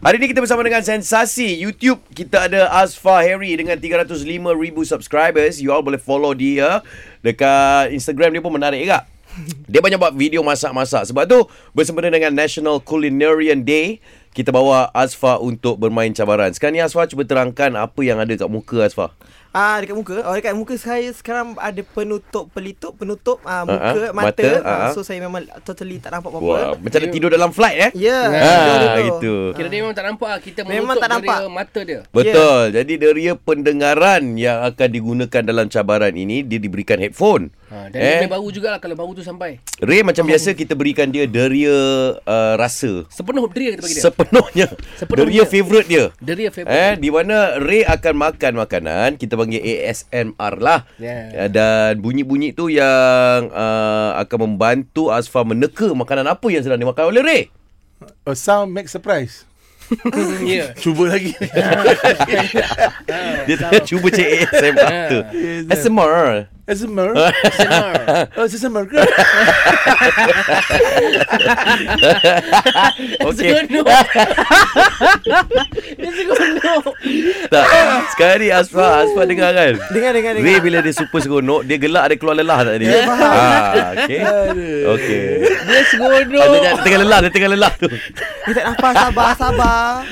Hari ini kita bersama dengan sensasi YouTube. Kita ada Asfa Harry dengan 305,000 subscribers. You all boleh follow dia. Dekat Instagram dia pun menarik juga. Dia banyak buat video masak-masak. Sebab tu bersempena dengan National Culinarian Day, kita bawa Asfa untuk bermain cabaran. Sekarang ni Asfa cuba terangkan apa yang ada kat muka Asfa. Ah dekat muka. Oh dekat muka saya sekarang ada penutup pelitup, penutup Ah, ah, ah muka, mata. mata, Ah, ah, ah. so saya memang totally tak nampak apa-apa. Wah, macam ada tidur dalam flight eh. Ya, tidur Ah, dulu. gitu. Kira dia memang tak nampak lah. Kita Memang memang tak tak nampak. Dia mata dia. Betul. Jadi deria pendengaran yang akan digunakan dalam cabaran ini dia diberikan headphone. Ha, dan eh. Eh. dia baru jugalah kalau baru tu sampai. Ray macam biasa kita berikan dia deria uh, rasa Sepenuh deria kita bagi dia. Sep- sepenuhnya. Sepenuhnya. Deria favorite dia. deria Eh favorite. di mana Ray akan makan makanan kita panggil ASMR lah. Yeah. Eh, Dan bunyi-bunyi tu yang uh, akan membantu Asfa meneka makanan apa yang sedang dimakan oleh Ray. A sound make surprise. Ya. Cuba lagi. Dia tengah cuba cek ASMR tu. ASMR. ASMR. Senar. Oh, ASMR ke? Okey. Seronok. Dia seronok. Tak. Sekarang ni Asfa, Asfa dengar kan? Dengar dengar dengar. Ray bila dia super seronok, dia gelak ada keluar lelah tak tadi? Ya, faham. Ah, okey. Okey. Dia Oh, seronok. dia tengah- tengah lelah, dia tengah lelah tu. Dia tak nampak sabar sabar.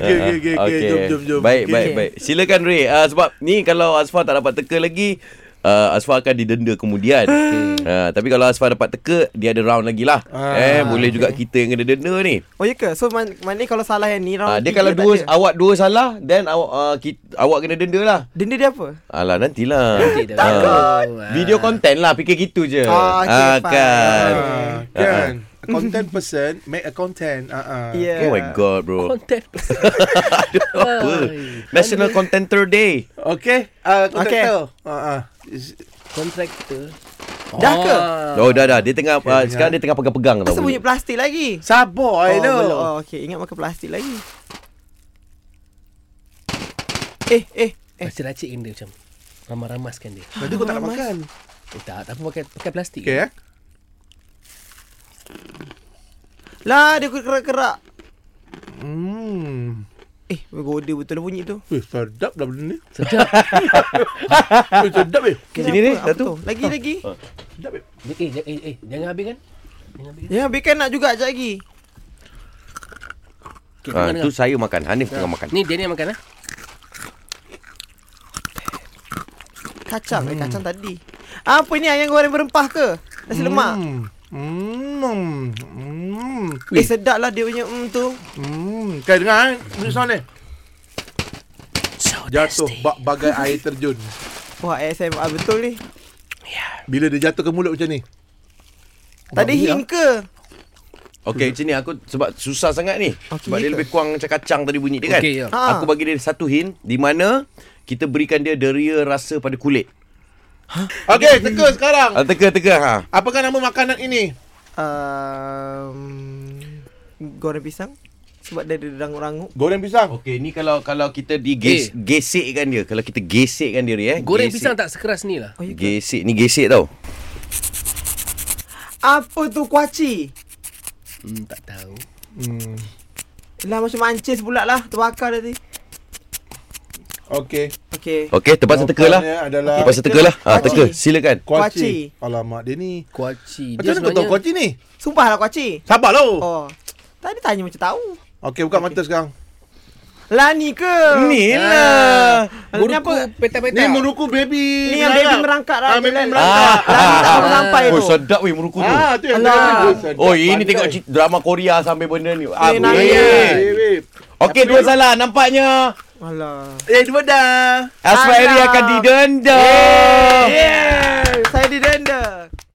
Okey, okey, okey. Okay. Okey. Jom, jom, jom. Baik, Okey. baik, baik. Silakan Ray. Ah, sebab ni kalau Asfa tak dapat teka lagi, Uh, Asfa akan didenda kemudian uh, Tapi kalau Asfa dapat teka Dia ada round lagi lah eh, Ah, Boleh juga kita yang kena denda ni Oh ya ke? So man, mana kalau salah yang ni round uh, Ah, Dia tiga kalau tak dua ada. awak dua salah Then awak uh, kita, awak kena denda lah Denda dia apa? Alah nantilah Nanti dah. Ah, Takut. Video content lah Fikir gitu je Ah, okay, Ah, fine. kan Ah, Kan. A content person make a content. Uh-uh. Ya. Oh my god bro Content. Aduh, apa National Contenter Day Okay. Uh, contractor. Okay. Uh-uh. Contractor. Ah. Dah ke? Ah. Oh dah dah Dia tengah uh, Sekarang dia tengah pegang-pegang tau Asal bunyi plastik lagi? Sabar, I know. belum. Oh, okey. Ingat makan plastik lagi. Eh, eh, eh. Pasti racik kan dia macam. Ramas-ramaskan dia. Lepas tu kau tak nak Ramas. makan. Eh, tak, tak apa pakai, pakai plastik. Okay, eh? Lah, dia kerak-kerak. Hmm. Eh, bergoda betul bunyi tu. Wih, sedap dah benda ni. Sedap. Wih, sedap, eh. Sini ni, satu. Ah. Apa tu? Lagi, lagi. Sedap, eh. Eh, eh, eh, eh, jangan habis kan? Jangan habis kan? Ya, Bekan nak juga sekejap lagi. Okay, Ah, tu tengah dengar. saya makan Hanif tengah makan Ni dia ni yang makan lah. Kacang, hmm. eh, kacang tadi. Apa ni ayam goreng berempah ke? Nasi lemak. Hmm. Hmm. Hmm. Eh, sedap lah dia punya mm tu. Hmm. Kau dengar, eh? Bunyi sound ni. So Jatuh tasty. bak bagai air terjun. Wah, ASMR betul ni. Bila dia jatuh ke mulut macam ni. lah. Tak ada Babi hint ke? Okay macam ni aku Sebab susah sangat ni Okey, Sebab dia ke? lebih kurang macam kacang tadi bunyi dia kan Okey, ya. Ha. Aku bagi dia satu hint Di mana Kita berikan dia deria rasa pada kulit Okey, teka sekarang. Ah, Teka teka ha. Apakah nama makanan ini? Um, goreng pisang? Sebab dia ada rangup-rangup. Goreng pisang. Okay ni kalau kalau kita diges, Eh. gesekkan dia Kalau kita gesekkan dia eh Goreng gesek. pisang tak sekeras ni lah. Oh, ya ke? Gesek ni gesek tau Apa tu kuaci? Hmm, tak tahu. Hmm. Lah, macam mancis pula lah. Terbakar tadi. Okey. Okey. Okey terpaksa teka lah Jawapannya adalah Terpaksa teka lah ha, Teka silakan Kuaci. kuaci. Alamak dia ni. Kuaci. Macam mana kau tahu kuaci ni? Sumpah lah kuaci. Sabar lah. Oh. Tadi tanya macam tahu. Okey, buka mata sekarang. Lah ni ke? Ni Ah, lah Ni Buruku apa? peta-peta. Ni meruku baby. Ni yang baby merangkak lah. Ah, baby Jalan. merangkak. Lah ni tak pernah sampai Oh tu. sedap weh meruku tu Ah, tu yang Alah. baby. Sedap, Oh ini pandai. tengok ci- drama Korea sampai benda ni ah, boleh. Ni nangis. Eh, babe. Okey dua salah nampaknya Alah. Eh, dua dah. Asma Alah. Eri akan didenda Yeah.